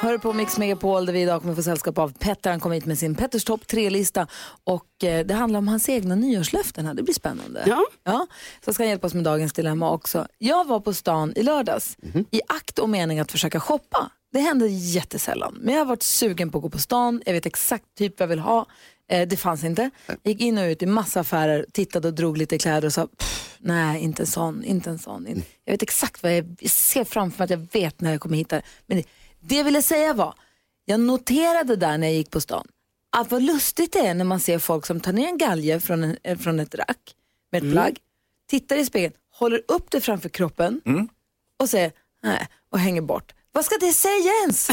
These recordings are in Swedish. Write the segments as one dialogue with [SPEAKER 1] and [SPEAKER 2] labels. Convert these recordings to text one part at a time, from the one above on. [SPEAKER 1] hör på Mix Megapol där vi idag kommer få sällskap av Petter. Han kommer hit med sin Petters topp 3-lista och eh, det handlar om hans egna nyårslöften här. Det blir spännande.
[SPEAKER 2] Ja.
[SPEAKER 1] ja. Så ska han hjälpa oss med dagens dilemma också. Jag var på stan i lördags i akt och mening att försöka shoppa. Det händer jättesällan, men jag har varit sugen på att gå på stan. Jag vet exakt typ vad jag vill ha. Eh, det fanns inte. Gick in och ut i massa affärer, tittade och drog lite kläder och sa "Pff, nej, inte en sån, inte en sån. In- Jag vet exakt vad jag jag ser framför mig att jag vet när jag kommer hitta det. Men det, det jag ville säga var, jag noterade där när jag gick på stan, att vad lustigt det är när man ser folk som tar ner en galge från, en, eh, från ett rack med ett plagg, tittar i spegeln, håller upp det framför kroppen och säger nej och hänger bort. Vad ska det säga ens?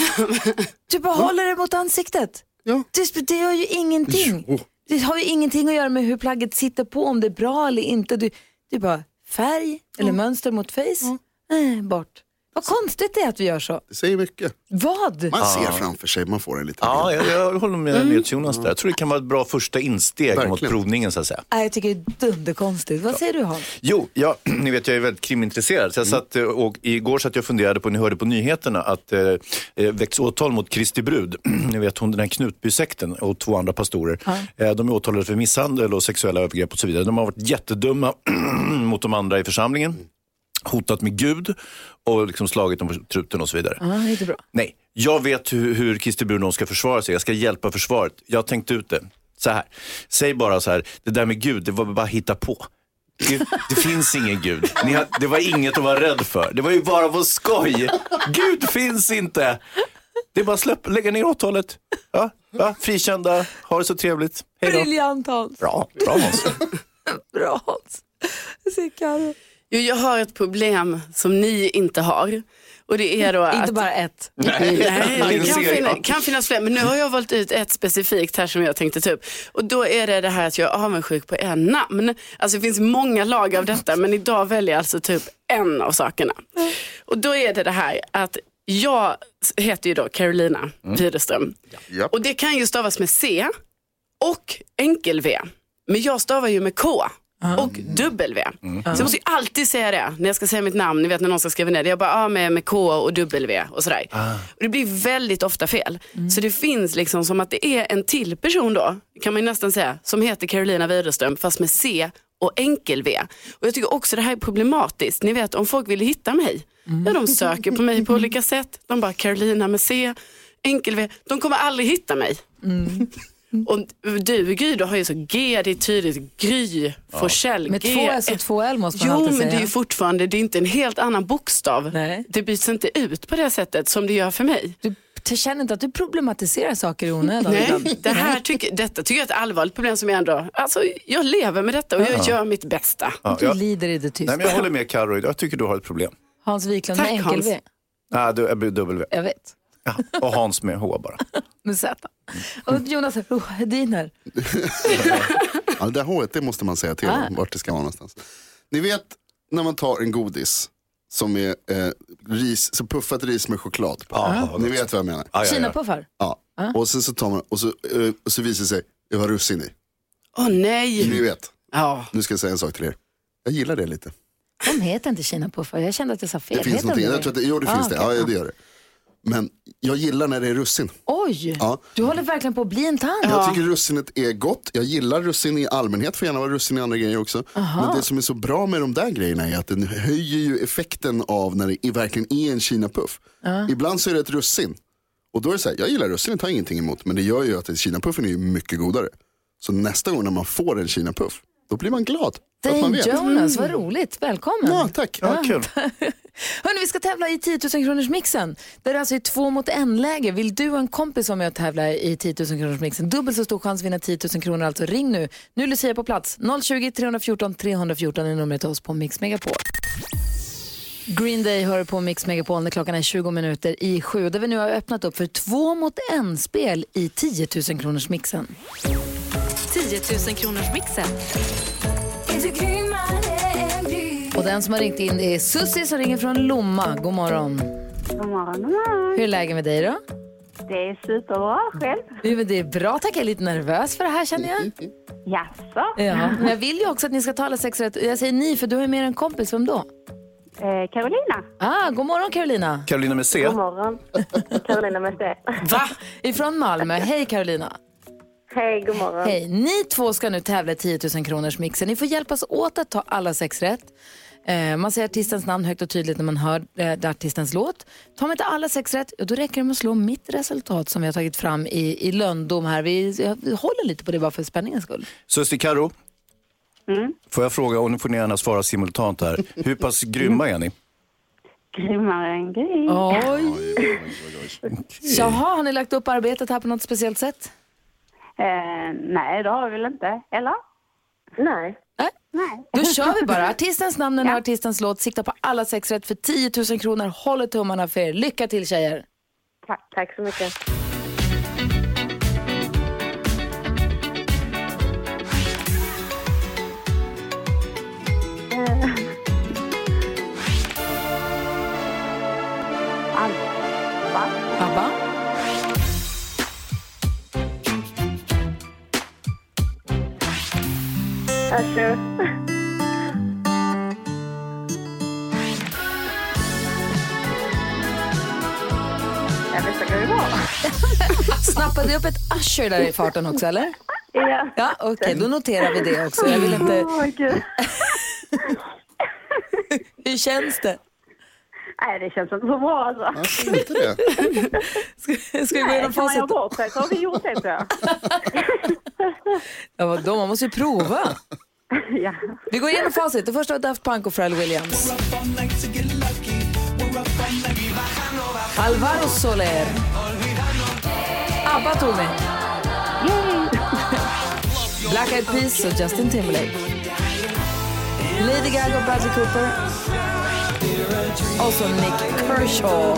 [SPEAKER 1] du bara håller det mot ansiktet.
[SPEAKER 2] Ja.
[SPEAKER 1] Det, det gör ju ingenting.
[SPEAKER 2] Jo.
[SPEAKER 1] Det har ju ingenting att göra med hur plagget sitter på, om det är bra eller inte. Du, det är bara färg eller mönster mot face. Nej, bort. Vad konstigt det är att vi gör så.
[SPEAKER 3] Det säger mycket.
[SPEAKER 1] Vad?
[SPEAKER 3] Man ser framför sig, man får en liten
[SPEAKER 4] Ja,
[SPEAKER 3] bild.
[SPEAKER 4] jag, jag håller med mm. Jonas där. Jag tror det kan vara ett bra första insteg mot
[SPEAKER 3] Verkligen.
[SPEAKER 4] provningen så att säga.
[SPEAKER 1] Nej, jag tycker det är dunderkonstigt. Vad säger du Hans?
[SPEAKER 4] Jo, jag, ni vet jag är väldigt krimintresserad. Så jag satt, eh, och igår satt jag och funderade på, ni hörde på nyheterna, att eh, eh, väcks åtal mot Kristi brud. ni vet hon den här Knutbysekten och två andra pastorer. Eh, de är åtalade för misshandel och sexuella övergrepp och så vidare. De har varit jättedumma mot de andra i församlingen. Hotat med Gud och liksom slagit dem på truten och så vidare.
[SPEAKER 1] Ja, inte bra.
[SPEAKER 4] Nej, jag vet hur, hur Christer Bruno ska försvara sig. Jag ska hjälpa försvaret. Jag har tänkt ut det. Så här. Säg bara så här, det där med Gud, det var bara hitta på. Det, det finns ingen Gud. Ni har, det var inget att vara rädd för. Det var ju bara på skoj. Gud finns inte. Det är bara släpp, lägga ner åtalet. Ja, va? Frikända, ha det så trevligt. Hej då.
[SPEAKER 1] Briljant Hans.
[SPEAKER 4] Bra, bra Måns.
[SPEAKER 1] Bra Hans. Jag ser Karo.
[SPEAKER 2] Jo, jag har ett problem som ni inte har. Och det är då att...
[SPEAKER 1] Inte bara ett.
[SPEAKER 2] Nej, det kan,
[SPEAKER 4] inser
[SPEAKER 2] finna,
[SPEAKER 4] jag.
[SPEAKER 2] kan finnas fler. Men nu har jag valt ut ett specifikt här som jag tänkte ta upp. Och då är det det här att jag är avundsjuk på en namn. Alltså det finns många lag av detta men idag väljer jag alltså typ en av sakerna. Och då är det det här att jag heter ju då Carolina Widerström.
[SPEAKER 3] Japp.
[SPEAKER 2] Och det kan ju stavas med C och enkel-V. Men jag stavar ju med K. Och dubbel-V. Så jag måste ju alltid säga det när jag ska säga mitt namn. Ni vet när någon ska skriva ner det. Jag bara, ah, med, med K och W och sådär. Och det blir väldigt ofta fel. Så det finns liksom som att det är en till person då, kan man ju nästan säga, som heter Carolina Widerström fast med C och enkel-V. Och jag tycker också det här är problematiskt. Ni vet om folk vill hitta mig, ja de söker på mig på olika sätt. De bara Carolina med C, enkel-V. De kommer aldrig hitta mig. Och du Gry, du har ju så G, det är tydligt Gry Forsell.
[SPEAKER 1] Med
[SPEAKER 2] G,
[SPEAKER 1] två S och
[SPEAKER 2] F.
[SPEAKER 1] två L måste man
[SPEAKER 2] Jo,
[SPEAKER 1] alltid
[SPEAKER 2] men
[SPEAKER 1] säga.
[SPEAKER 2] det är ju fortfarande, det är inte en helt annan bokstav.
[SPEAKER 1] Nej.
[SPEAKER 2] Det byts inte ut på det sättet som det gör för mig.
[SPEAKER 1] Du t- känner inte att du problematiserar saker i onödan? ibland?
[SPEAKER 2] Nej, det här tycker, detta tycker jag är ett allvarligt problem som jag ändå, alltså jag lever med detta och jag gör mitt bästa.
[SPEAKER 4] Ja,
[SPEAKER 1] Du
[SPEAKER 4] jag, nej,
[SPEAKER 1] lider i det tysta.
[SPEAKER 4] men jag håller med Carro. Jag tycker du har ett problem.
[SPEAKER 1] Hans Wiklund
[SPEAKER 2] Tack,
[SPEAKER 1] med enkel V.
[SPEAKER 2] Hans.
[SPEAKER 4] Nej, du är W.
[SPEAKER 1] Jag vet.
[SPEAKER 4] Ja, och Hans med H bara.
[SPEAKER 1] Med Z. Och Jonas oh, Hediner.
[SPEAKER 3] Ja, det där H det måste man säga till
[SPEAKER 1] Ah.
[SPEAKER 3] vart det ska vara någonstans. Ni vet när man tar en godis som är eh, ris, så puffat ris med choklad på.
[SPEAKER 4] Ja,
[SPEAKER 3] Ni vet vad jag menar.
[SPEAKER 4] ja, ja.
[SPEAKER 1] Kinapuffar.
[SPEAKER 3] Ja. Och sen så tar man och så, eh, och så visar det sig, det var russin i.
[SPEAKER 2] Åh
[SPEAKER 3] Ni
[SPEAKER 2] nej.
[SPEAKER 3] vet,
[SPEAKER 2] Ja.
[SPEAKER 3] nu ska jag säga en sak till er. Jag gillar det lite.
[SPEAKER 1] De heter inte kinapuffar. Jag kände att jag sa fel.
[SPEAKER 3] Det finns
[SPEAKER 1] heter
[SPEAKER 3] någonting,
[SPEAKER 1] de
[SPEAKER 3] jag tror att det, jo det
[SPEAKER 1] Ah,
[SPEAKER 3] finns det,
[SPEAKER 1] okej.
[SPEAKER 3] ja det gör det. Men jag gillar när det är russin.
[SPEAKER 1] Oj,
[SPEAKER 3] Ja.
[SPEAKER 1] du håller verkligen på att bli en tant.
[SPEAKER 3] Jag tycker russinet är gott. Jag gillar russin i allmänhet, får gärna vara russin i andra grejer också. Men det som är så bra med de där grejerna är att den höjer ju effekten av när det är, verkligen är en kinapuff. Ibland så är det ett russin. Och då är det så här, jag gillar russinet, har jag ingenting emot. Men det gör ju att kinapuffen är ju mycket godare. Så nästa gång när man får en kinapuff, då blir man glad. För att man
[SPEAKER 1] Dane
[SPEAKER 3] vet.
[SPEAKER 1] Jonas, vad
[SPEAKER 2] Mm.
[SPEAKER 1] roligt. Välkommen.
[SPEAKER 3] Ja, tack.
[SPEAKER 4] Ja, kul.
[SPEAKER 1] Hörrni, vi ska tävla i 10 000 kronors mixen. Där det alltså är två mot en läge. Vill du och en kompis vara med och tävla i 10 000 kronors mixen? Dubbelt så stor chans att vinna 10 000 kronor. Alltså ring nu. Nu är Lucia på plats. 020 314 314 är numret till oss på Mix Megapol. Green Day hör på Mix Megapol när klockan är 20 minuter i sju. Där vi nu har öppnat upp för två mot en spel i 10 000 kronors mixen.
[SPEAKER 5] 10 000 kronors mixen.
[SPEAKER 1] Och den som har ringt in är Susie som ringer från Lomma. God morgon.
[SPEAKER 6] God morgon, god morgon.
[SPEAKER 1] Hur är läget med dig då?
[SPEAKER 6] Det är superbra. Själv?
[SPEAKER 1] Jo, men det är bra tack. Jag är lite nervös för det här känner jag.
[SPEAKER 6] Jaså?
[SPEAKER 1] Ja. Men jag vill ju också att ni ska tala sex rätt. Jag säger ni för du har ju mer en kompis. Vem då?
[SPEAKER 6] Eh, Carolina?
[SPEAKER 1] Ah, god morgon Carolina.
[SPEAKER 4] Carolina med C.
[SPEAKER 7] God morgon. Carolina Mette.
[SPEAKER 2] Va?
[SPEAKER 1] Ifrån Malmö. Hej Carolina.
[SPEAKER 7] Hej, god morgon.
[SPEAKER 1] Hej, ni två ska nu tävla i 10 000 kronors mixen. Ni får hjälpas åt att ta alla sex rätt. Eh, man säger artistens namn högt och tydligt när man hör eh, artistens låt. Tar man inte alla sex rätt, ja, då räcker det med att slå mitt resultat som vi har tagit fram i, i lönndom här. Vi, vi håller lite på det bara för spänningens skull.
[SPEAKER 4] Susie Karo. Får jag fråga, och nu får ni gärna svara simultant här. Hur pass grymma är ni?
[SPEAKER 6] Grymmare än gris.
[SPEAKER 1] Oj! Jaha, har ni lagt upp arbetet här på något speciellt sätt?
[SPEAKER 6] Eh, nej, det har vi väl inte. Eller?
[SPEAKER 7] Nej.
[SPEAKER 1] Nej. Då kör vi bara. Artistens namn, den här artistens låt. Sikta på alla sex rätt för 10 000 kronor. Håller tummarna för er. Lycka till tjejer!
[SPEAKER 7] Tack. Tack så mycket.
[SPEAKER 1] ABBA.
[SPEAKER 6] Eh.
[SPEAKER 7] Usher. Jag vet inte vad det var.
[SPEAKER 1] Snappade upp ett Usher där i farten också eller?
[SPEAKER 7] Ja.
[SPEAKER 1] Ja, okej, då noterar vi det också. Jag vill inte...
[SPEAKER 7] Åh, gud.
[SPEAKER 1] Hur känns det?
[SPEAKER 7] Nej, det känns inte så bra alltså.
[SPEAKER 3] Alltså, inte det.
[SPEAKER 1] Ska, ska vi gå
[SPEAKER 7] Nej,
[SPEAKER 1] igenom
[SPEAKER 7] kan man
[SPEAKER 1] facit?
[SPEAKER 7] göra bort sig så har vi gjort det tror jag.
[SPEAKER 1] Ja, vadå? Man måste ju prova.
[SPEAKER 7] Ja.
[SPEAKER 1] Vi går igenom facit. Det första var Daft Punk och Pharrell Williams. Alvaro Soler. ABBA tog vi. Black Eyed Peas och Justin Timberlake. Lady Gaga och Bradley Cooper. Och så Nick Kershaw.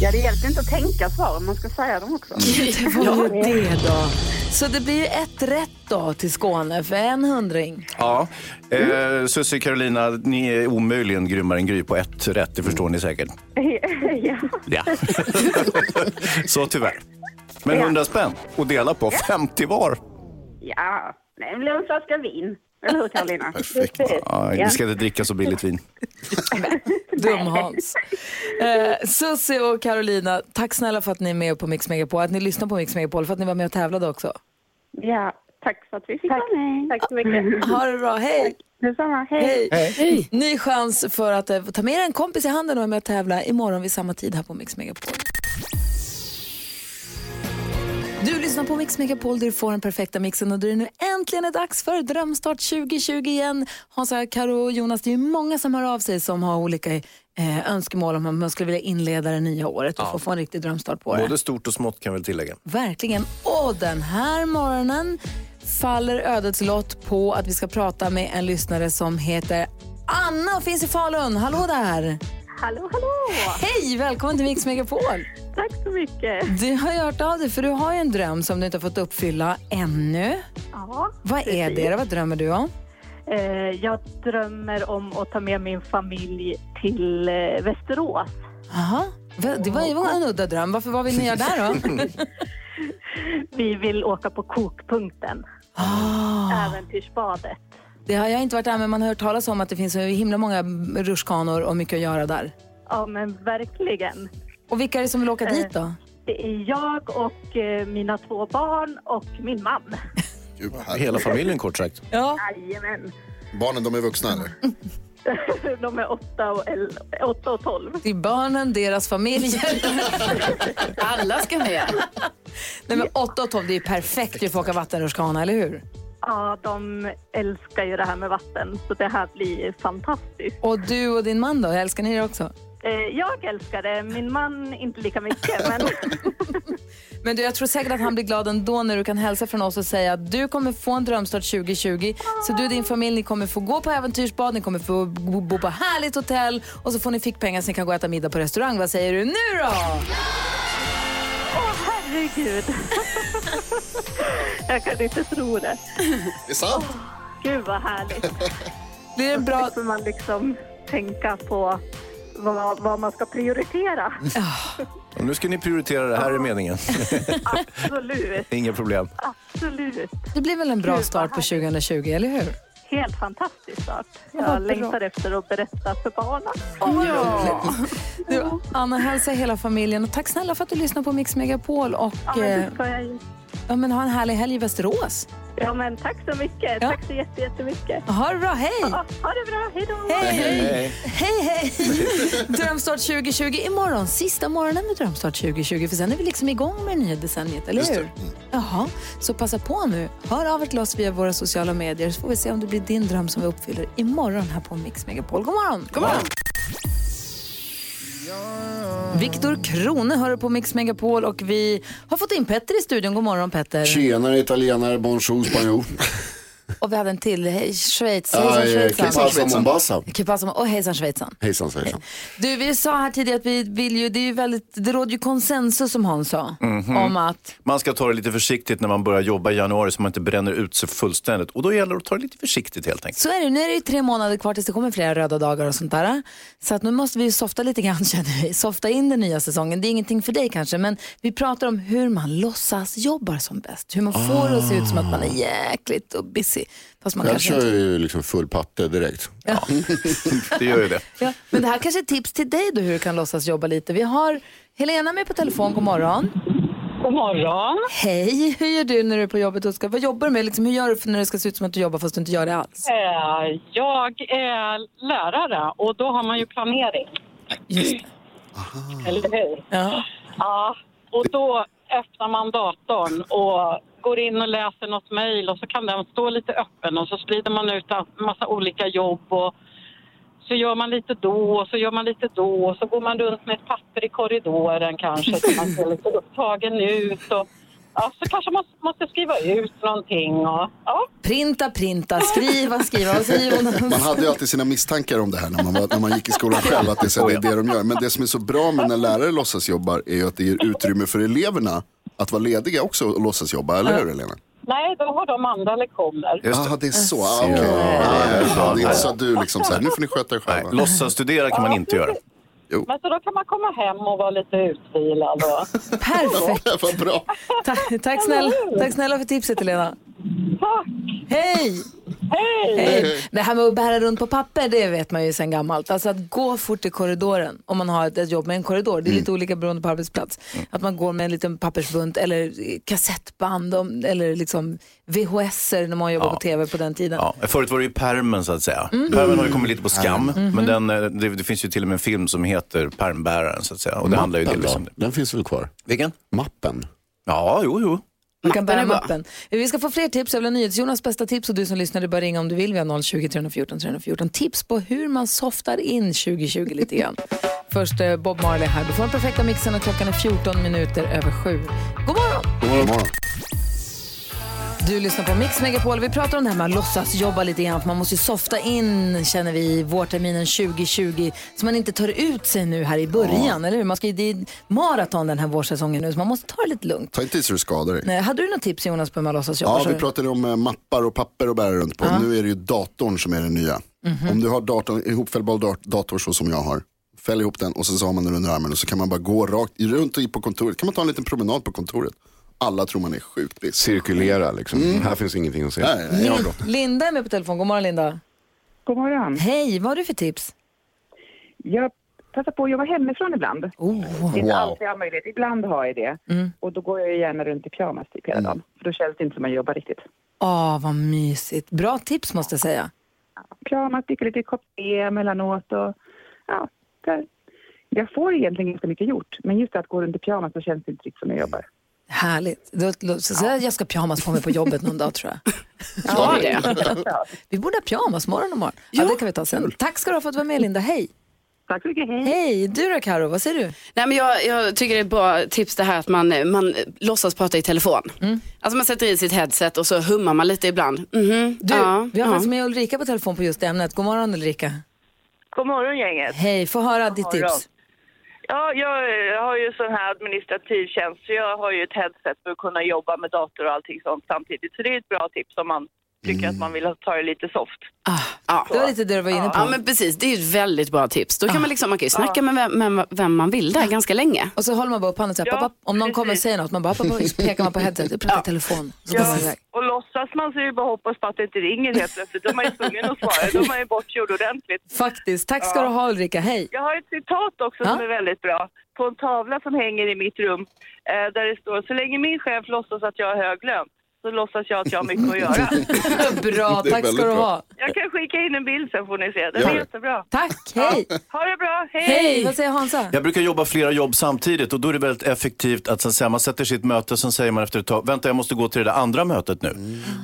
[SPEAKER 6] Ja, det hjälper inte att tänka svaren. Man ska säga dem också.
[SPEAKER 1] Det var ju det då. Så det blir ju ett rätt då till Skåne för en hundring.
[SPEAKER 4] Ja. Eh, Susie Carolina, ni är omöjligen grymmare än Gry på ett rätt, det förstår ni säkert.
[SPEAKER 7] ja.
[SPEAKER 4] Ja. Så tyvärr. Men 100 spänn att dela på, 50 var.
[SPEAKER 6] Ja, det blir en flaska vin. Eller hur, Carolina?
[SPEAKER 3] Perfekt.
[SPEAKER 4] Ja, ni ska inte dricka så billigt vin.
[SPEAKER 1] Dum-Hans. Eh, Susie och Carolina, tack snälla för att ni är med på Mix Megapol, att ni lyssnar på Mix Megapol, för att ni var med och tävlade också.
[SPEAKER 6] Ja, tack för att vi fick
[SPEAKER 7] Tack.
[SPEAKER 6] vara med.
[SPEAKER 7] Tack så mycket.
[SPEAKER 1] Ha det bra, hej!
[SPEAKER 6] Detsamma. Hej.
[SPEAKER 1] Hej. Ny chans för att eh, ta med er en kompis i handen och vara med och tävla imorgon vid samma tid här på Mix Megapol. Du lyssnar på Mix Megapol där du får den perfekta mixen och där det nu äntligen är dags för Drömstart 2020 igen. Hansa, Karo och Jonas, det är ju många som hör av sig som har olika eh, önskemål om hur man skulle vilja inleda det nya året och få, få en riktig drömstart på det.
[SPEAKER 4] Både stort och smått kan jag väl tillägga.
[SPEAKER 1] Verkligen. Och den här morgonen faller ödets lott på att vi ska prata med en lyssnare som heter Anna och finns i Falun. Hallå där!
[SPEAKER 7] Hallå, hallå.
[SPEAKER 1] Hej, välkommen till Mix Megapol.
[SPEAKER 7] Tack så mycket.
[SPEAKER 1] Du har ju hört av dig för du har ju en dröm som du inte har fått uppfylla ännu.
[SPEAKER 7] Ja.
[SPEAKER 1] Vad är det då? Vad drömmer du om?
[SPEAKER 7] Eh, jag drömmer om att ta med min familj till eh, Västerås.
[SPEAKER 1] Aha. Va- Det var ju en udda dröm. Varför, vad vill ni göra där då?
[SPEAKER 7] Vi vill åka på kokpunkten,
[SPEAKER 1] Ah,
[SPEAKER 7] äventyrsbadet.
[SPEAKER 1] det har jag inte varit där, men man har hört talas om att det finns så himla många rutschkanor och mycket att göra där.
[SPEAKER 7] Ja, men verkligen.
[SPEAKER 1] Och vilka är det som vill åka dit då?
[SPEAKER 7] Det är jag och eh, mina två barn och min man.
[SPEAKER 3] Gud, vad härligt.
[SPEAKER 4] Hela familjen kort sagt.
[SPEAKER 1] Ja.
[SPEAKER 7] Jajamän.
[SPEAKER 3] Barnen, de är vuxna eller?
[SPEAKER 7] De är åtta och, el- åtta och tolv.
[SPEAKER 1] Det är barnen, deras familjer.
[SPEAKER 2] Alla ska med.
[SPEAKER 1] Nej, men 8 och 12, det är ju perfekt ju för att åka vattenrutschkana, eller hur?
[SPEAKER 7] Ja, de älskar ju det här med vatten, så det här blir fantastiskt.
[SPEAKER 1] Och du och din man då, älskar ni det också?
[SPEAKER 7] Eh, jag älskar det, min man inte lika mycket, men
[SPEAKER 1] Men du, jag tror säkert att han blir glad ändå när du kan hälsa från oss och säga att du kommer få en drömstart 2020. Så du och din familj, ni kommer få gå på äventyrsbad, ni kommer få bo bo på härligt hotell och så får ni fickpengar så ni kan gå och äta middag på restaurang. Vad säger du nu då?
[SPEAKER 7] herregud. jag kan inte tro det.
[SPEAKER 3] Det är sant.
[SPEAKER 7] Gud vad härligt.
[SPEAKER 1] Blir det en bra...
[SPEAKER 7] Får man liksom tänka på vad, vad man ska prioritera.
[SPEAKER 4] Och nu ska ni prioritera det här i meningen.
[SPEAKER 7] Absolut,
[SPEAKER 4] Inga problem.
[SPEAKER 7] absolut.
[SPEAKER 1] Det blir väl en bra start på 2020, eller hur?
[SPEAKER 7] Helt fantastisk start. Jag
[SPEAKER 1] bra.
[SPEAKER 7] längtar efter att berätta för barnen.
[SPEAKER 1] Du, Anna, hälsa hela familjen och tack snälla för att du lyssnar på Mix Megapol och
[SPEAKER 7] Ja, men
[SPEAKER 1] eh,
[SPEAKER 7] det ska jag ju.
[SPEAKER 1] ja, men ha en härlig helg i Västerås.
[SPEAKER 7] Ja, men tack så mycket.
[SPEAKER 1] Ja.
[SPEAKER 7] Tack så jätte- jättemycket.
[SPEAKER 1] Ha det bra, hej!
[SPEAKER 7] Ja, ha det bra, hej då!
[SPEAKER 1] Hej, hej! Hej, hej! Drömstart 2020 imorgon, sista morgonen med Drömstart 2020 för sen är vi liksom igång med det Mm. nya decenniet, eller
[SPEAKER 3] Just det.
[SPEAKER 1] hur? Jaha, så passa på nu. Hör av er till oss via våra sociala medier så får vi se om det blir din dröm som vi uppfyller imorgon här på Mix Megapol. God morgon! God morgon! Viktor Krone hör på Mix Megapol och vi har fått in Petter i studion. God morgon Petter!
[SPEAKER 8] Tjenare italienare, bonjour spanjor.
[SPEAKER 1] Och vi hade en till, hej Schweiz, hejsan
[SPEAKER 8] Aj, eh,
[SPEAKER 1] Schweizan.
[SPEAKER 8] Kepasa Mombasa.
[SPEAKER 1] Kepassa och hejsan Schweizan.
[SPEAKER 8] Hejsan svejsan.
[SPEAKER 1] Du, vi sa här tidigare att vi vill ju, det, är ju väldigt, det råder ju konsensus som han sa. Om att,
[SPEAKER 4] Man ska ta det lite försiktigt när man börjar jobba i januari så man inte bränner ut sig fullständigt. Och då gäller det att ta det lite försiktigt helt enkelt.
[SPEAKER 1] så är det, nu är det ju tre månader kvar tills det kommer flera röda dagar och sånt där. Så att nu måste vi ju softa lite grann känner vi. Softa in den nya säsongen. Det är ingenting för dig kanske, men vi pratar om hur man låtsas jobbar som bäst. Hur man får det att se ut som att man är jäkligt och busy. Fast man
[SPEAKER 8] Jag
[SPEAKER 1] kanske
[SPEAKER 8] kör
[SPEAKER 1] inte...
[SPEAKER 8] ju liksom full patte direkt.
[SPEAKER 4] Det gör ju det.
[SPEAKER 1] Ja, men det här kanske är tips till dig då hur du kan låtsas jobba lite. Vi har Helena med på telefon, god morgon.
[SPEAKER 6] God morgon.
[SPEAKER 1] Hej, hur gör du när du är på jobbet? Och ska, vad jobbar du med? Liksom, hur gör du för när det ska se ut som att du jobbar fast du inte gör det alls?
[SPEAKER 6] Eh, Jag är lärare och då har man ju planering,
[SPEAKER 1] Just det.
[SPEAKER 6] eller hur?
[SPEAKER 1] Ja.
[SPEAKER 6] Ja, och då öppnar man datorn och går in och läser något mejl och så kan den stå lite öppen och så sprider man ut en massa olika jobb och så gör man lite då och så gör man lite då och så går man runt med ett papper i korridoren kanske så man ser lite upptagen ut och ja, så kanske man måste skriva ut någonting och ja.
[SPEAKER 1] Printa, printa, skriva, skriva. Vad säger
[SPEAKER 3] Man
[SPEAKER 1] Jonas?
[SPEAKER 3] hade ju alltid sina misstankar om det här när man, var, när man gick i skolan själv, att det är, så här, det är det de gör. Men det som är så bra med när lärare låtsas jobbar är ju att det ger utrymme för eleverna att vara lediga också och låtsas jobba, eller hur Elena?
[SPEAKER 6] Nej, då har de andra lektioner.
[SPEAKER 4] Just
[SPEAKER 3] Jaha, det är så. Ah, okej. Ah, ja, det är inte så att du liksom så här, nu får ni sköta er
[SPEAKER 4] Nej,
[SPEAKER 3] själva.
[SPEAKER 4] låtsas studera kan man inte göra.
[SPEAKER 6] Men så då kan man komma hem och vara lite utvilad och
[SPEAKER 1] Perfekt.
[SPEAKER 3] Vad bra.
[SPEAKER 1] Ta- tack, snälla, tack snälla för tipset Helena.
[SPEAKER 6] tack,
[SPEAKER 1] Hej!
[SPEAKER 6] hej!
[SPEAKER 1] Hej. Eh, Det här med att bära runt på papper, det vet man ju sedan gammalt. Alltså att gå fort i korridoren, om man har ett, ett jobb med en korridor, det är lite olika beroende på arbetsplats. Att man går med en liten pappersbunt eller kassettband om- eller liksom VHS när man jobbade på tv på den tiden.
[SPEAKER 4] Ja, förut var det ju pärmen så att säga. Pärmen har ju kommit lite på skam. Men den, eh, det, det finns ju till och med en film som heter Pärmbäraren så att säga. Och det
[SPEAKER 3] Mm.
[SPEAKER 4] handlar ju delvis om det.
[SPEAKER 8] Den finns väl kvar?
[SPEAKER 4] Vilken?
[SPEAKER 8] Mappen.
[SPEAKER 4] Ja, jo, jo.
[SPEAKER 1] Du kan bära
[SPEAKER 2] är bra.
[SPEAKER 1] mappen. Vi ska få fler tips. Jag vill ha NyhetsJonas bästa tips och du som lyssnar, du bara ringa om du vill. Vi har 020 314 314. Tips på hur man softar in 2020 lite grann. Först eh, Bob Marley här. Du får den perfekta mixen och klockan är 14 minuter över sju. God morgon!
[SPEAKER 8] God morgon.
[SPEAKER 1] Du lyssnar på Mix Megapol. Vi pratar om det här med att låtsas jobba lite grann. För man måste ju softa in, känner vi, vårterminen 2020. Så man inte tar ut sig nu här i början, eller hur? Man ska ju, det är maraton den här vårsäsongen nu, så man måste ta det lite lugnt.
[SPEAKER 3] Ta inte i så du skadar dig.
[SPEAKER 1] Nej, Hade du något tips Jonas på hur man låtsas jobba?
[SPEAKER 3] Ja,
[SPEAKER 1] sa
[SPEAKER 3] vi
[SPEAKER 1] du?
[SPEAKER 3] pratade om eh, mappar och papper att bära runt på. Nu är det ju datorn som är den nya.
[SPEAKER 1] Mhm.
[SPEAKER 3] Om du har datorn, en ihopfällbar dat- dator så som jag har, fäll ihop den och sen så har man den under armen och så kan man bara gå rakt runt och i på kontoret. kan man ta en liten promenad på kontoret. Alla tror man är sjukt busy.
[SPEAKER 8] Cirkulera liksom. Här finns ingenting att se.
[SPEAKER 3] Nej, nej, jag har
[SPEAKER 1] Lin- Linda är med på telefon. God morgon Linda.
[SPEAKER 9] God morgon.
[SPEAKER 1] Hej, vad har du för tips?
[SPEAKER 9] Jag passar på att jobba hemifrån ibland.
[SPEAKER 2] Oh,
[SPEAKER 9] Det är inte alltid jag har möjlighet. Ibland har jag det.
[SPEAKER 2] Mm.
[SPEAKER 9] Och då går jag ju gärna runt i pyjamas typ hela dagen. För då känns det inte som att jag jobbar riktigt.
[SPEAKER 1] Åh, vad mysigt. Bra tips måste jag säga.
[SPEAKER 9] Pyjamas, dricker lite kopp te emellanåt och ja, där. Jag får egentligen ganska mycket gjort. Men just att gå runt i pyjamas så känns det inte riktigt som att jag
[SPEAKER 2] Mm.
[SPEAKER 9] jobbar.
[SPEAKER 1] Härligt. Då- då- Så, så, jag ska ha pyjamas på mig på jobbet någon dag tror jag.
[SPEAKER 2] Ja, det.
[SPEAKER 1] Vi borde ha pyjamasmorgon imorgon. Ja, det kan vi ta sen. Tack ska du ha för att du var med Linda. Hej.
[SPEAKER 9] Tack så mycket, hej!
[SPEAKER 1] Hej, du då Karo, vad säger du?
[SPEAKER 2] Nej, men jag, jag tycker det är ett bra tips det här att man, man låtsas prata i telefon.
[SPEAKER 1] Mm.
[SPEAKER 2] Alltså man sätter i sitt headset och så hummar man lite ibland. Mhm,
[SPEAKER 1] Du,
[SPEAKER 2] ja,
[SPEAKER 1] vi har
[SPEAKER 2] ja.
[SPEAKER 1] faktiskt med Ulrika på telefon på just det ämnet. God morgon Ulrika.
[SPEAKER 9] God morgon gänget!
[SPEAKER 1] Hej, få höra ditt
[SPEAKER 9] morgon.
[SPEAKER 1] tips.
[SPEAKER 9] Ja, jag eh, har ju sån här administrativ tjänst så jag har ju ett headset för att kunna jobba med dator och allting sånt samtidigt. Så det är ett bra tips om man
[SPEAKER 10] tycker att man vill ta det lite soft.
[SPEAKER 2] Ah, Ja.
[SPEAKER 1] Det var lite det du var inne på.
[SPEAKER 2] Ja, men precis. Det är ju ett väldigt bra tips. Då kan man, liksom, man kan ju snacka med vem, med vem man vill där ganska länge.
[SPEAKER 1] Och så håller man bara upp handen och säger,
[SPEAKER 10] Ja,
[SPEAKER 1] "Pappa, om någon kommer och säger något, man bara, "Pappa, pappa", så pekar man på headsetet, pratar i telefon. Så går man iväg.
[SPEAKER 10] Och låtsas man så är det bara att hoppas på att det inte ringer helt plötsligt. Då är man ju tvungen att svara. Då är man ju bortgjord ordentligt.
[SPEAKER 1] Faktiskt. Tack ska du ha Ulrika, hej.
[SPEAKER 10] Jag har ett citat också som är väldigt bra. På en tavla som hänger i mitt rum. Eh, där det står, så länge min chef låtsas att jag har hög lön så låtsas jag att jag har mycket att göra.
[SPEAKER 1] bra,
[SPEAKER 10] Det är
[SPEAKER 1] tack ska
[SPEAKER 10] väldigt
[SPEAKER 1] du
[SPEAKER 10] bra.
[SPEAKER 1] ha.
[SPEAKER 10] Jag kan skicka in en bild sen får ni se. Den
[SPEAKER 4] Gör
[SPEAKER 10] är
[SPEAKER 4] det.
[SPEAKER 10] jättebra.
[SPEAKER 1] Tack, hej!
[SPEAKER 10] Ha det bra, hej!
[SPEAKER 1] Hej, vad säger Hansa?
[SPEAKER 4] Jag brukar jobba flera jobb samtidigt och då är det väldigt effektivt att sen säga, man sätter sitt möte och sen säger man efter ett tag, vänta jag måste gå till det där andra mötet nu.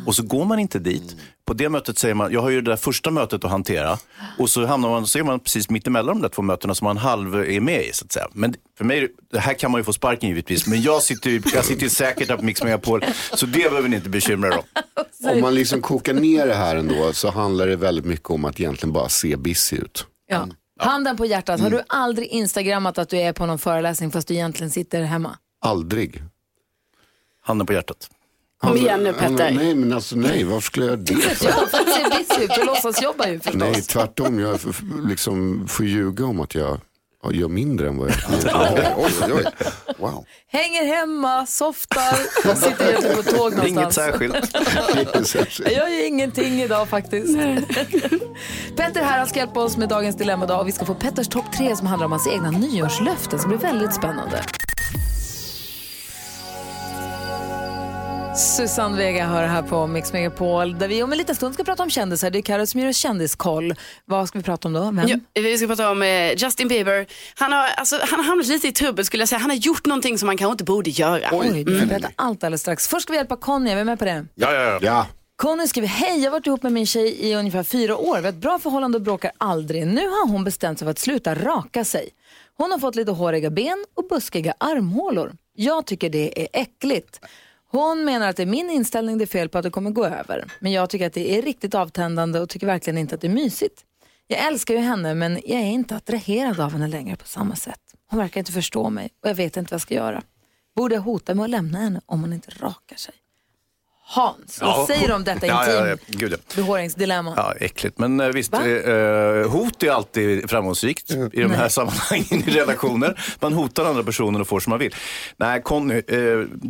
[SPEAKER 4] Och så går man inte dit. På det mötet säger man, jag har ju det där första mötet att hantera. Och så hamnar man, så är man precis mitt emellan de där två mötena som man halv är med i så att säga. Men för mig, det här kan man ju få sparken givetvis, men jag sitter ju, jag sitter ju säkert här på Mix Megapol, så det behöver ni inte bekymra er om.
[SPEAKER 8] Om man liksom kokar ner det här ändå så handlar det väldigt mycket om att egentligen bara se busy ut.
[SPEAKER 1] Ja. Handen på hjärtat, har
[SPEAKER 10] Mm.
[SPEAKER 1] du aldrig instagrammat att du är på någon föreläsning fast du egentligen sitter hemma?
[SPEAKER 8] Aldrig.
[SPEAKER 4] Handen på hjärtat.
[SPEAKER 1] Kom igen nu, Petter.
[SPEAKER 8] Nej, men alltså nej, varför skulle jag göra det för?
[SPEAKER 1] Ja, för att se busy ut, du låtsas jobba ju förstås.
[SPEAKER 8] Nej, tvärtom. Jag f- f- liksom får ljuga om att jag ja, gör mindre än vad jag
[SPEAKER 1] Ja.
[SPEAKER 8] oj, oj, oj. Wow.
[SPEAKER 1] Hänger hemma, softar, sitter ute på tåg någonstans. Jag gör ingenting idag faktiskt. Petter här, han ska hjälpa oss med dagens dilemma idag och vi ska få Petters topp tre som handlar om hans egna nyårslöften. Så det blir väldigt spännande. Susanne Vega hör här på Mix Megapol där vi om en liten stund ska prata om kändisar. Det är Carro som gör en kändiskoll. Vad ska vi prata om då? Vem?
[SPEAKER 2] Ja, vi ska prata om eh, Justin Bieber. Han har, alltså, han har hamnat lite i trubbel skulle jag säga. Han har gjort någonting som han kanske inte borde göra.
[SPEAKER 1] Oj, vi får berätta allt alldeles strax. Först ska vi hjälpa Conny, är vi med på det?
[SPEAKER 4] Ja, ja,
[SPEAKER 8] ja.
[SPEAKER 1] Conny skriver, hej, jag har varit ihop med min tjej i ungefär fyra år. Vi har ett bra förhållande och bråkar aldrig. Nu har hon bestämt sig för att sluta raka sig. Hon har fått lite håriga ben och buskiga armhålor. Jag tycker det är äckligt. Hon menar att det är min inställning det är fel på att det kommer gå över. Men jag tycker att det är riktigt avtändande och tycker verkligen inte att det är mysigt. Jag älskar ju henne men jag är inte attraherad av henne längre på samma sätt. Hon verkar inte förstå mig och jag vet inte vad jag ska göra. Borde jag hota med att lämna henne om hon inte rakar sig? Hans, vad säger du om detta
[SPEAKER 4] ja, ja,
[SPEAKER 1] intim
[SPEAKER 4] ja. Gud, ja.
[SPEAKER 1] behåringsdilemma?
[SPEAKER 4] Ja, äckligt. Men eh, visst, eh, eh, hot är alltid framgångsrikt
[SPEAKER 1] Mm.
[SPEAKER 4] i de här sammanhangen i relationer. Man hotar andra personer och får som man vill. Nej, Conny, eh,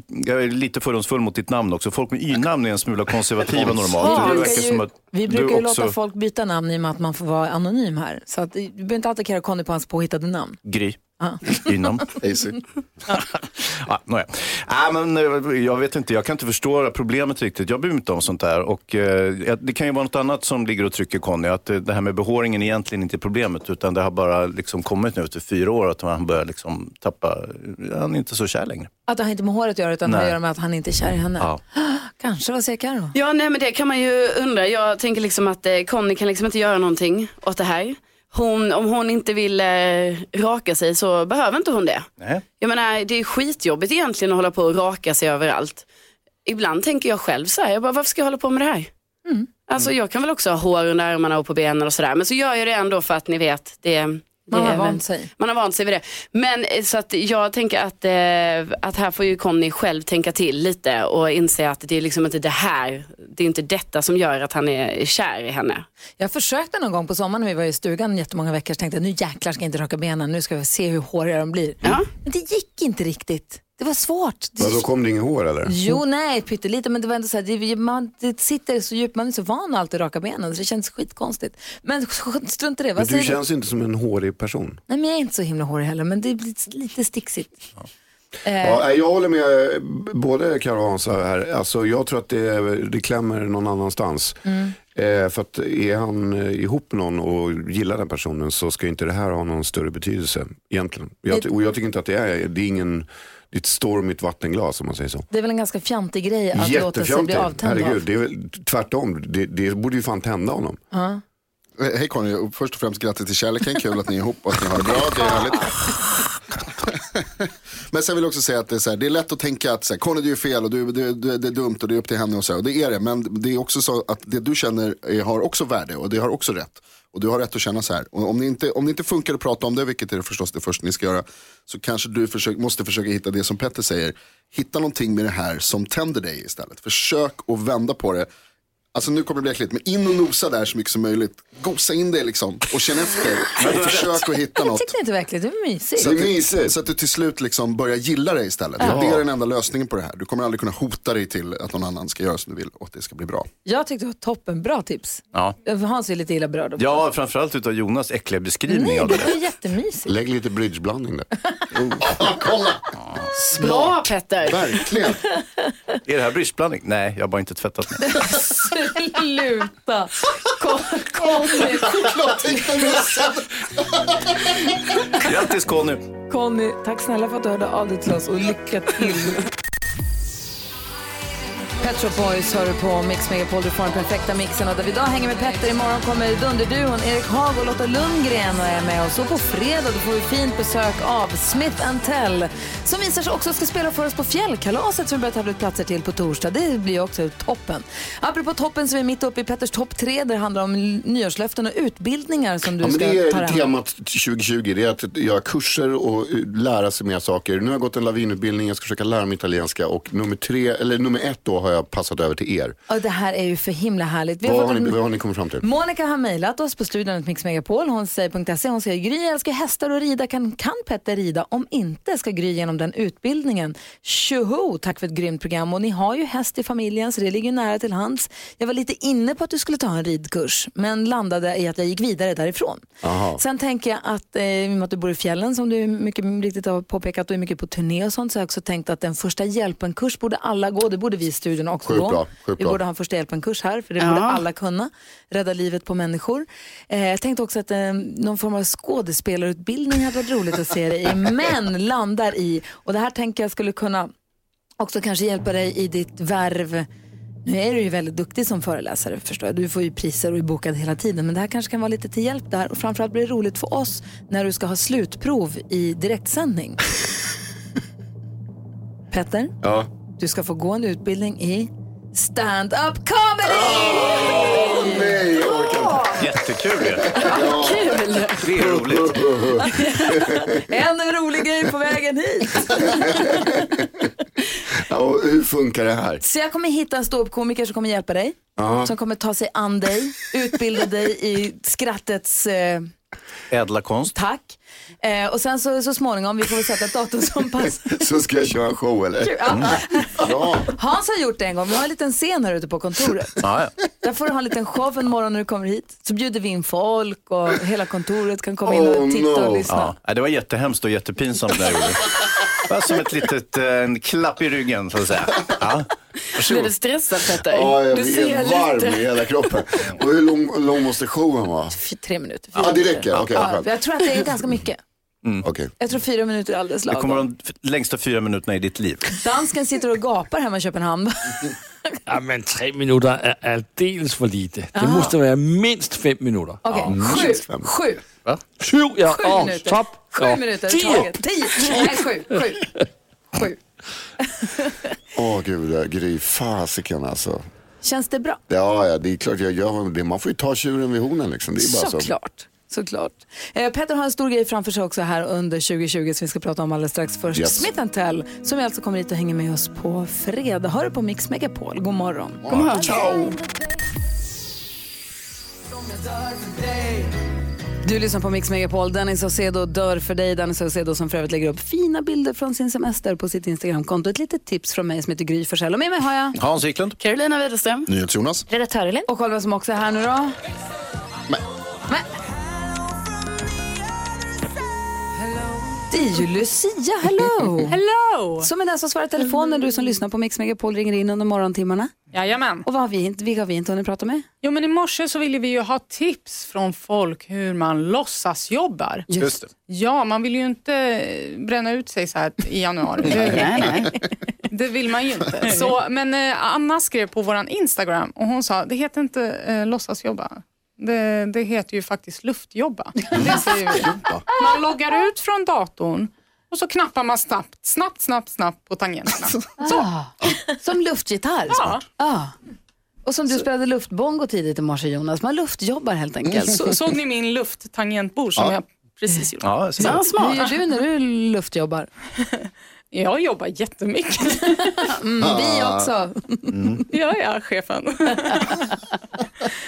[SPEAKER 4] jag är lite fördomsfull mot ditt namn också. Folk med y-namn är en smula konservativa normalt.
[SPEAKER 1] Vi
[SPEAKER 4] Det
[SPEAKER 1] brukar
[SPEAKER 4] verkar som
[SPEAKER 1] ju,
[SPEAKER 4] att
[SPEAKER 1] vi
[SPEAKER 4] du
[SPEAKER 1] brukar ju
[SPEAKER 4] också-
[SPEAKER 1] låta folk byta namn i och med att man får vara anonym här. Så att, du behöver inte attackera Conny på hans påhittade namn.
[SPEAKER 4] Gry.
[SPEAKER 1] Ja.
[SPEAKER 4] Inom. ja, nåja. Nej, men, eh, jag vet inte, jag kan inte förstå problemet riktigt. Jag bryr mig inte om sånt där. Och, eh, det kan ju vara något annat som ligger och trycker Conny. Att eh, det här med behåringen egentligen inte är problemet. Utan det har bara liksom kommit nu efter fyra år att han börjar liksom tappa, han är inte så kär längre.
[SPEAKER 1] Att det har inte med håret att göra utan det har
[SPEAKER 4] Nej.
[SPEAKER 1] att göra med att han inte är kär i henne.
[SPEAKER 4] Ja.
[SPEAKER 1] Kanske, vad säger Carro?
[SPEAKER 2] Ja, nej men det kan man ju undra. Jag tänker liksom att eh, Conny kan liksom inte göra någonting åt det här. Hon, om hon inte vill eh, raka sig så behöver inte hon det.
[SPEAKER 4] Nej.
[SPEAKER 2] Jag menar, det är skitjobbigt egentligen att hålla på och raka sig överallt. Ibland tänker jag själv så här, jag bara, varför ska jag hålla på med det här? Alltså jag kan väl också ha hår under armarna och på benen och sådär. Men så gör jag det ändå för att ni vet, det, det
[SPEAKER 1] Man har
[SPEAKER 2] är-
[SPEAKER 1] vant sig.
[SPEAKER 2] Man har vant sig vid det. Men eh, så att jag tänker att, eh, att här får ju Conny själv tänka till lite och inse att det är liksom inte det här, det är inte detta som gör att han är kär i henne.
[SPEAKER 1] Jag försökte någon gång på sommaren när vi var i stugan jättemånga veckor så tänkte jag nu jäklar ska jag inte raka benen, nu ska vi se hur håriga de blir. Men det gick inte riktigt. Det var svårt. Det-
[SPEAKER 8] Men då kom det inget hår eller?
[SPEAKER 1] Jo, nej, pyttelite, men det var ändå så här, det, man, det sitter så djupt, man är så van att alltid raka benen så det känns skitkonstigt. Men strunt i det,
[SPEAKER 8] Men
[SPEAKER 1] vad
[SPEAKER 8] du
[SPEAKER 1] säger
[SPEAKER 8] känns ju inte som en hårig person.
[SPEAKER 1] Nej, men jag är inte så himla hårig heller, men det blir lite sticksigt. Eh,
[SPEAKER 8] Ja, nej, jag håller med eh, b- både Karo och Hansa här. Alltså, jag tror att det, det klämmer någon annanstans.
[SPEAKER 1] Mm.
[SPEAKER 8] Eh, för att är han eh, ihop med någon och gillar den personen så ska inte det här ha någon större betydelse egentligen. Jag, ty- och jag tycker inte att det är, det är ingen, det är ett stormigt vattenglas om man säger så.
[SPEAKER 1] Det är väl en ganska fjantig grej att låta sig bli
[SPEAKER 8] Jättefjantigt.
[SPEAKER 1] avtänd
[SPEAKER 8] herregud.
[SPEAKER 1] av.
[SPEAKER 8] Det är väl tvärtom, det, det borde ju fan tända honom.
[SPEAKER 1] Ja.
[SPEAKER 3] Eh, Hej Conny, och först och främst grattis till kärleken. Kul att ni är ihop och att ni har det bra. Det är härligt. Men sen vill jag också säga att det är, så här, det är lätt att tänka att så här, Conny du är fel och du, du, du, det är dumt och det är upp till henne och så. här. Och det är det, men det är också så att det du känner är, har också värde och det har också rätt. Och du har rätt att känna så här. Och om, det inte, om det inte funkar att prata om det, vilket är det förstås det första ni ska göra, så kanske du försök, måste försöka hitta det som Petter säger. Hitta någonting med det här som tänder dig istället. Försök att vända på det Alltså nu kommer det bli äckligt, men in och nosa där så mycket som möjligt. Gosa in det liksom och känn efter. Och försök att hitta
[SPEAKER 1] Jag
[SPEAKER 3] något.
[SPEAKER 1] tycker inte verkligen, det var mysigt.
[SPEAKER 3] Så att, du, så att du till slut liksom börjar gilla dig istället.
[SPEAKER 1] Ja.
[SPEAKER 3] Det är den enda lösningen på det här. Du kommer aldrig kunna hota dig till att någon annan ska göra som du vill och att det ska bli bra.
[SPEAKER 1] Jag tyckte det var toppen, bra tips.
[SPEAKER 4] Ja.
[SPEAKER 1] Hans är lite illa berörd. av-
[SPEAKER 4] Ja, framförallt utav Jonas äckliga beskrivning
[SPEAKER 1] Nej,
[SPEAKER 4] av det
[SPEAKER 1] det var
[SPEAKER 4] där.
[SPEAKER 1] jättemysigt.
[SPEAKER 4] Lägg lite bridgeblandning där.
[SPEAKER 2] Bra Petter!
[SPEAKER 3] Oh, Verkligen.
[SPEAKER 4] Är det här bridgeblandning? Nej, jag har bara inte tvättat mig.
[SPEAKER 1] Sluta! Kom, kom
[SPEAKER 4] Grattis Conny!
[SPEAKER 1] Conny, tack snälla för att du hörde av dig till oss och lycka till. Pet Shop Boys hör du på Mix Megapol, du får den perfekta mixen. Och där vi idag hänger med Petter, imorgon kommer Dunderduon, Erik Haag och Lotta Lundgren och är med oss. Och på fredag då får vi fint besök av Smith Tell som visar sig också ska spela för oss på Fjällkalaset som vi börjar tävla ut platser till på torsdag. Det blir också toppen. Apropå toppen så är vi mitt uppe i Petters topp tre där det handlar om l- nyårslöften och utbildningar som du
[SPEAKER 8] Ja, men
[SPEAKER 1] ska
[SPEAKER 8] det
[SPEAKER 1] ta
[SPEAKER 8] är
[SPEAKER 1] dig an.
[SPEAKER 8] temat 2020, det är att göra kurser och eh, lära sig mer saker. Nu har jag gått en lavinutbildning, jag ska försöka lära mig italienska och nummer, tre, eller nummer ett då har jag passat över till er.
[SPEAKER 1] Och det här är ju för himla härligt. Vi har
[SPEAKER 8] Vad
[SPEAKER 1] fått
[SPEAKER 8] har,
[SPEAKER 1] en- Mm.
[SPEAKER 8] ni, vad har ni kommit fram till?
[SPEAKER 11] typ.
[SPEAKER 1] Monica har mejlat oss på studion Mix Megapol. Hon säger .se. Hon säger Gry jag älskar hästar och rida. Kan, kan Petter rida? Om inte ska Gry genom den utbildningen. Tjoho! Tack för ett grymt program. Och ni har ju häst i familjen så det ligger ju nära till hands. Jag var lite inne på att du skulle ta en ridkurs men landade i att jag gick vidare därifrån.
[SPEAKER 11] Aha.
[SPEAKER 1] Sen tänker jag att eh, i och med att du bor i fjällen som du mycket riktigt har påpekat och är mycket på turné och sånt så har jag också tänkt att en första hjälpen-kurs borde alla gå. Det borde vi i studion också
[SPEAKER 11] Sjukt
[SPEAKER 1] gå.
[SPEAKER 11] bra, sjukt
[SPEAKER 1] vi
[SPEAKER 11] bra.
[SPEAKER 1] borde ha en första hjälpen-kurs här för det
[SPEAKER 11] Ja.
[SPEAKER 1] borde alla kunna. Rädda livet på människor. Eh, jag tänkte också att eh, någon form av skådespelarutbildning hade varit roligt att se dig i. Men landar i, och det här tänker jag skulle kunna också kanske hjälpa dig i ditt värv nu är du ju väldigt duktig som föreläsare förstår jag. Du får ju priser och är bokad hela tiden. Men det här kanske kan vara lite till hjälp där. Och framförallt blir det roligt för oss när du ska ha slutprov i direktsändning. Petter,
[SPEAKER 8] Ja.
[SPEAKER 1] du ska få gå en utbildning i stand-up comedy!
[SPEAKER 3] nej, jag orkar
[SPEAKER 4] Jättekul ju.
[SPEAKER 1] Kul!
[SPEAKER 4] Det är roligt.
[SPEAKER 1] En rolig grej på vägen hit.
[SPEAKER 8] Ja, och hur funkar det här?
[SPEAKER 1] Så jag kommer hitta en ståuppkomiker som kommer hjälpa dig.
[SPEAKER 8] Ja.
[SPEAKER 1] Som kommer ta sig an dig, utbilda dig i skrattets eh,
[SPEAKER 4] Ädla konst.
[SPEAKER 1] Tack. Eh, och sen så, så småningom, vi får väl sätta ett datum som passar.
[SPEAKER 8] Så ska jag köra en show eller? Mm.
[SPEAKER 1] Ja.
[SPEAKER 8] Bra.
[SPEAKER 1] Hans har gjort det en gång, vi har en liten scen här ute på kontoret.
[SPEAKER 4] Ja,
[SPEAKER 1] Där får du ha en liten show en morgon när du kommer hit. Så bjuder vi in folk och hela kontoret kan komma in
[SPEAKER 8] Oh,
[SPEAKER 1] och titta och lyssna.
[SPEAKER 4] Ja, nej, det var jättehemskt och jättepinsamt det jag gjorde. Det var som ett litet eh, en klapp i ryggen så att säga. Ja.
[SPEAKER 2] Blir du stressad Petter?
[SPEAKER 8] Ja, jag
[SPEAKER 2] du
[SPEAKER 8] är varm i hela kroppen. Och hur lång, lång måste showen vara?
[SPEAKER 1] Tre minuter.
[SPEAKER 8] Ja, det räcker. Okej,
[SPEAKER 1] Ja,
[SPEAKER 8] skönt.
[SPEAKER 1] jag tror att det är ganska mycket.
[SPEAKER 4] Mm.
[SPEAKER 1] Jag tror fyra minuter är alldeles
[SPEAKER 4] Det kommer
[SPEAKER 1] lagom.
[SPEAKER 4] de f- längsta fyra minuterna i ditt liv.
[SPEAKER 1] Dansken sitter og gapar hemma i Köpenhamn.
[SPEAKER 12] Ja, men tre minutter er aldeles for lite. Det
[SPEAKER 1] Ah.
[SPEAKER 12] måste være mindst fem minutter.
[SPEAKER 1] Okej, sju, sju,
[SPEAKER 12] Hvad? Syv, ja.
[SPEAKER 1] sju
[SPEAKER 12] Åh,
[SPEAKER 1] minuter.
[SPEAKER 12] top.
[SPEAKER 1] Sju
[SPEAKER 12] Ja.
[SPEAKER 1] minuter i
[SPEAKER 12] Tio.
[SPEAKER 1] taget. Tio, nej sju, sju.
[SPEAKER 8] Åh gud, ja, Gry. Fasiken alltså.
[SPEAKER 1] Känns det bra?
[SPEAKER 8] Ja, ja, det är klart jag gör det. Man får ju ta tjuren vid hornen liksom. Det är bara så.
[SPEAKER 1] Såklart. Såklart. Eh, Petter har en stor grej framför sig också här under 2020 som vi ska prata om alldeles strax. Först
[SPEAKER 11] Yes.
[SPEAKER 1] Smith Tell som ju alltså kommer hit och hänger med oss på fredag. Hör du på Mix Megapol? God morgon.
[SPEAKER 11] God morgon. Ciao.
[SPEAKER 1] Du lyssnar på Mix Megapol. Dennis Saucedo dör för dig. Dennis Saucedo som för övrigt lägger upp fina bilder från sin semester på sitt Instagramkonto. Ett litet tips från mig som heter Gry Forssell. Och med mig har jag...
[SPEAKER 4] Hans Wiklund.
[SPEAKER 2] Carolina Widerström.
[SPEAKER 3] NyhetsJonas.
[SPEAKER 1] Redaktör Elin. Och Oliver som också är här nu då. Det är ju Lucia, hello!
[SPEAKER 13] hello!
[SPEAKER 1] Som är den som svarar i telefon när du som lyssnar på Mix Megapol ringer in under morgontimmarna.
[SPEAKER 13] Jajamän.
[SPEAKER 1] Och vad har vi, inte- vilka har vi inte hunnit prata med?
[SPEAKER 13] Jo, men i morse så ville vi ju ha tips från folk hur man låtsas jobbar.
[SPEAKER 1] Just det.
[SPEAKER 13] Ja, man vill ju inte eh, bränna ut sig så här i januari.
[SPEAKER 1] Nej,
[SPEAKER 13] Det vill man ju inte. Så, men eh, Anna skrev på vår Instagram och hon sa, det heter inte eh, låtsasjobba. Det, det heter ju faktiskt luftjobba. Det säger vi. Man loggar ut från datorn och så knappar man snabbt, snabbt, snabbt, snabbt på tangenterna.
[SPEAKER 1] Ah, som luftgitarr. Ja. Ah. Och som du spelade luftbongo tidigt i morse Jonas. Man luftjobbar helt enkelt.
[SPEAKER 13] Så, såg ni min lufttangentbord som
[SPEAKER 1] Ja.
[SPEAKER 13] jag precis gjorde?
[SPEAKER 4] Ja,
[SPEAKER 1] Hur gör du när du luftjobbar?
[SPEAKER 13] Jag jobbar jättemycket.
[SPEAKER 1] vi också. Mm.
[SPEAKER 13] Ja, ja, chefen.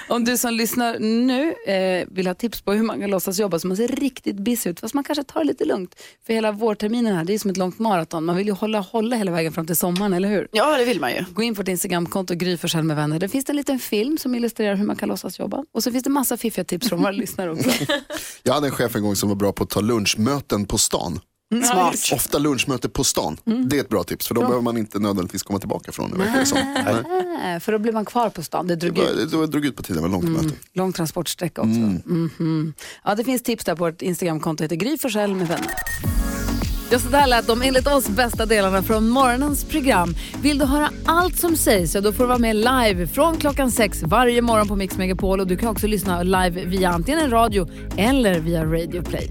[SPEAKER 1] Om du som lyssnar nu eh, vill ha tips på hur man kan låtsas jobba så man ser riktigt busy ut, fast man kanske tar det lite lugnt. För hela vårterminen här, det är som ett långt maraton. Man vill ju hålla, hålla hela vägen fram till sommaren, eller hur?
[SPEAKER 2] Ja, det vill man ju.
[SPEAKER 1] Gå in på ditt Instagramkonto, Gry Forssell med vänner. Där finns det en liten film som illustrerar hur man kan låtsas jobba. Och så finns det massa fiffiga tips från våra lyssnare också.
[SPEAKER 3] Jag hade en chef en gång som var bra på att ta lunchmöten på stan.
[SPEAKER 1] Mm. Smart.
[SPEAKER 3] Ofta lunchmöte på stan.
[SPEAKER 1] Mm.
[SPEAKER 3] Det är ett bra tips för då behöver man inte nödvändigtvis komma tillbaka från det. verkar det som. Nej.
[SPEAKER 1] Nej, Eh, för då blir man kvar på stan. Det drog ut.
[SPEAKER 3] Det var- det drog ut på tiden, det var långt
[SPEAKER 1] Mm.
[SPEAKER 3] möte.
[SPEAKER 1] Lång transportsträcka också.
[SPEAKER 3] Mm.
[SPEAKER 1] Mhm. Ja, det finns tips där på vårt Instagramkonto, heter Gry Forssell med vänner. Ja, så där lät de enligt oss bästa delarna från morgonens program. Vill du höra allt som sägs, ja, då får du vara med live från klockan sex varje morgon på Mix Megapol. Och du kan också lyssna live via antingen en radio eller via Radio Play.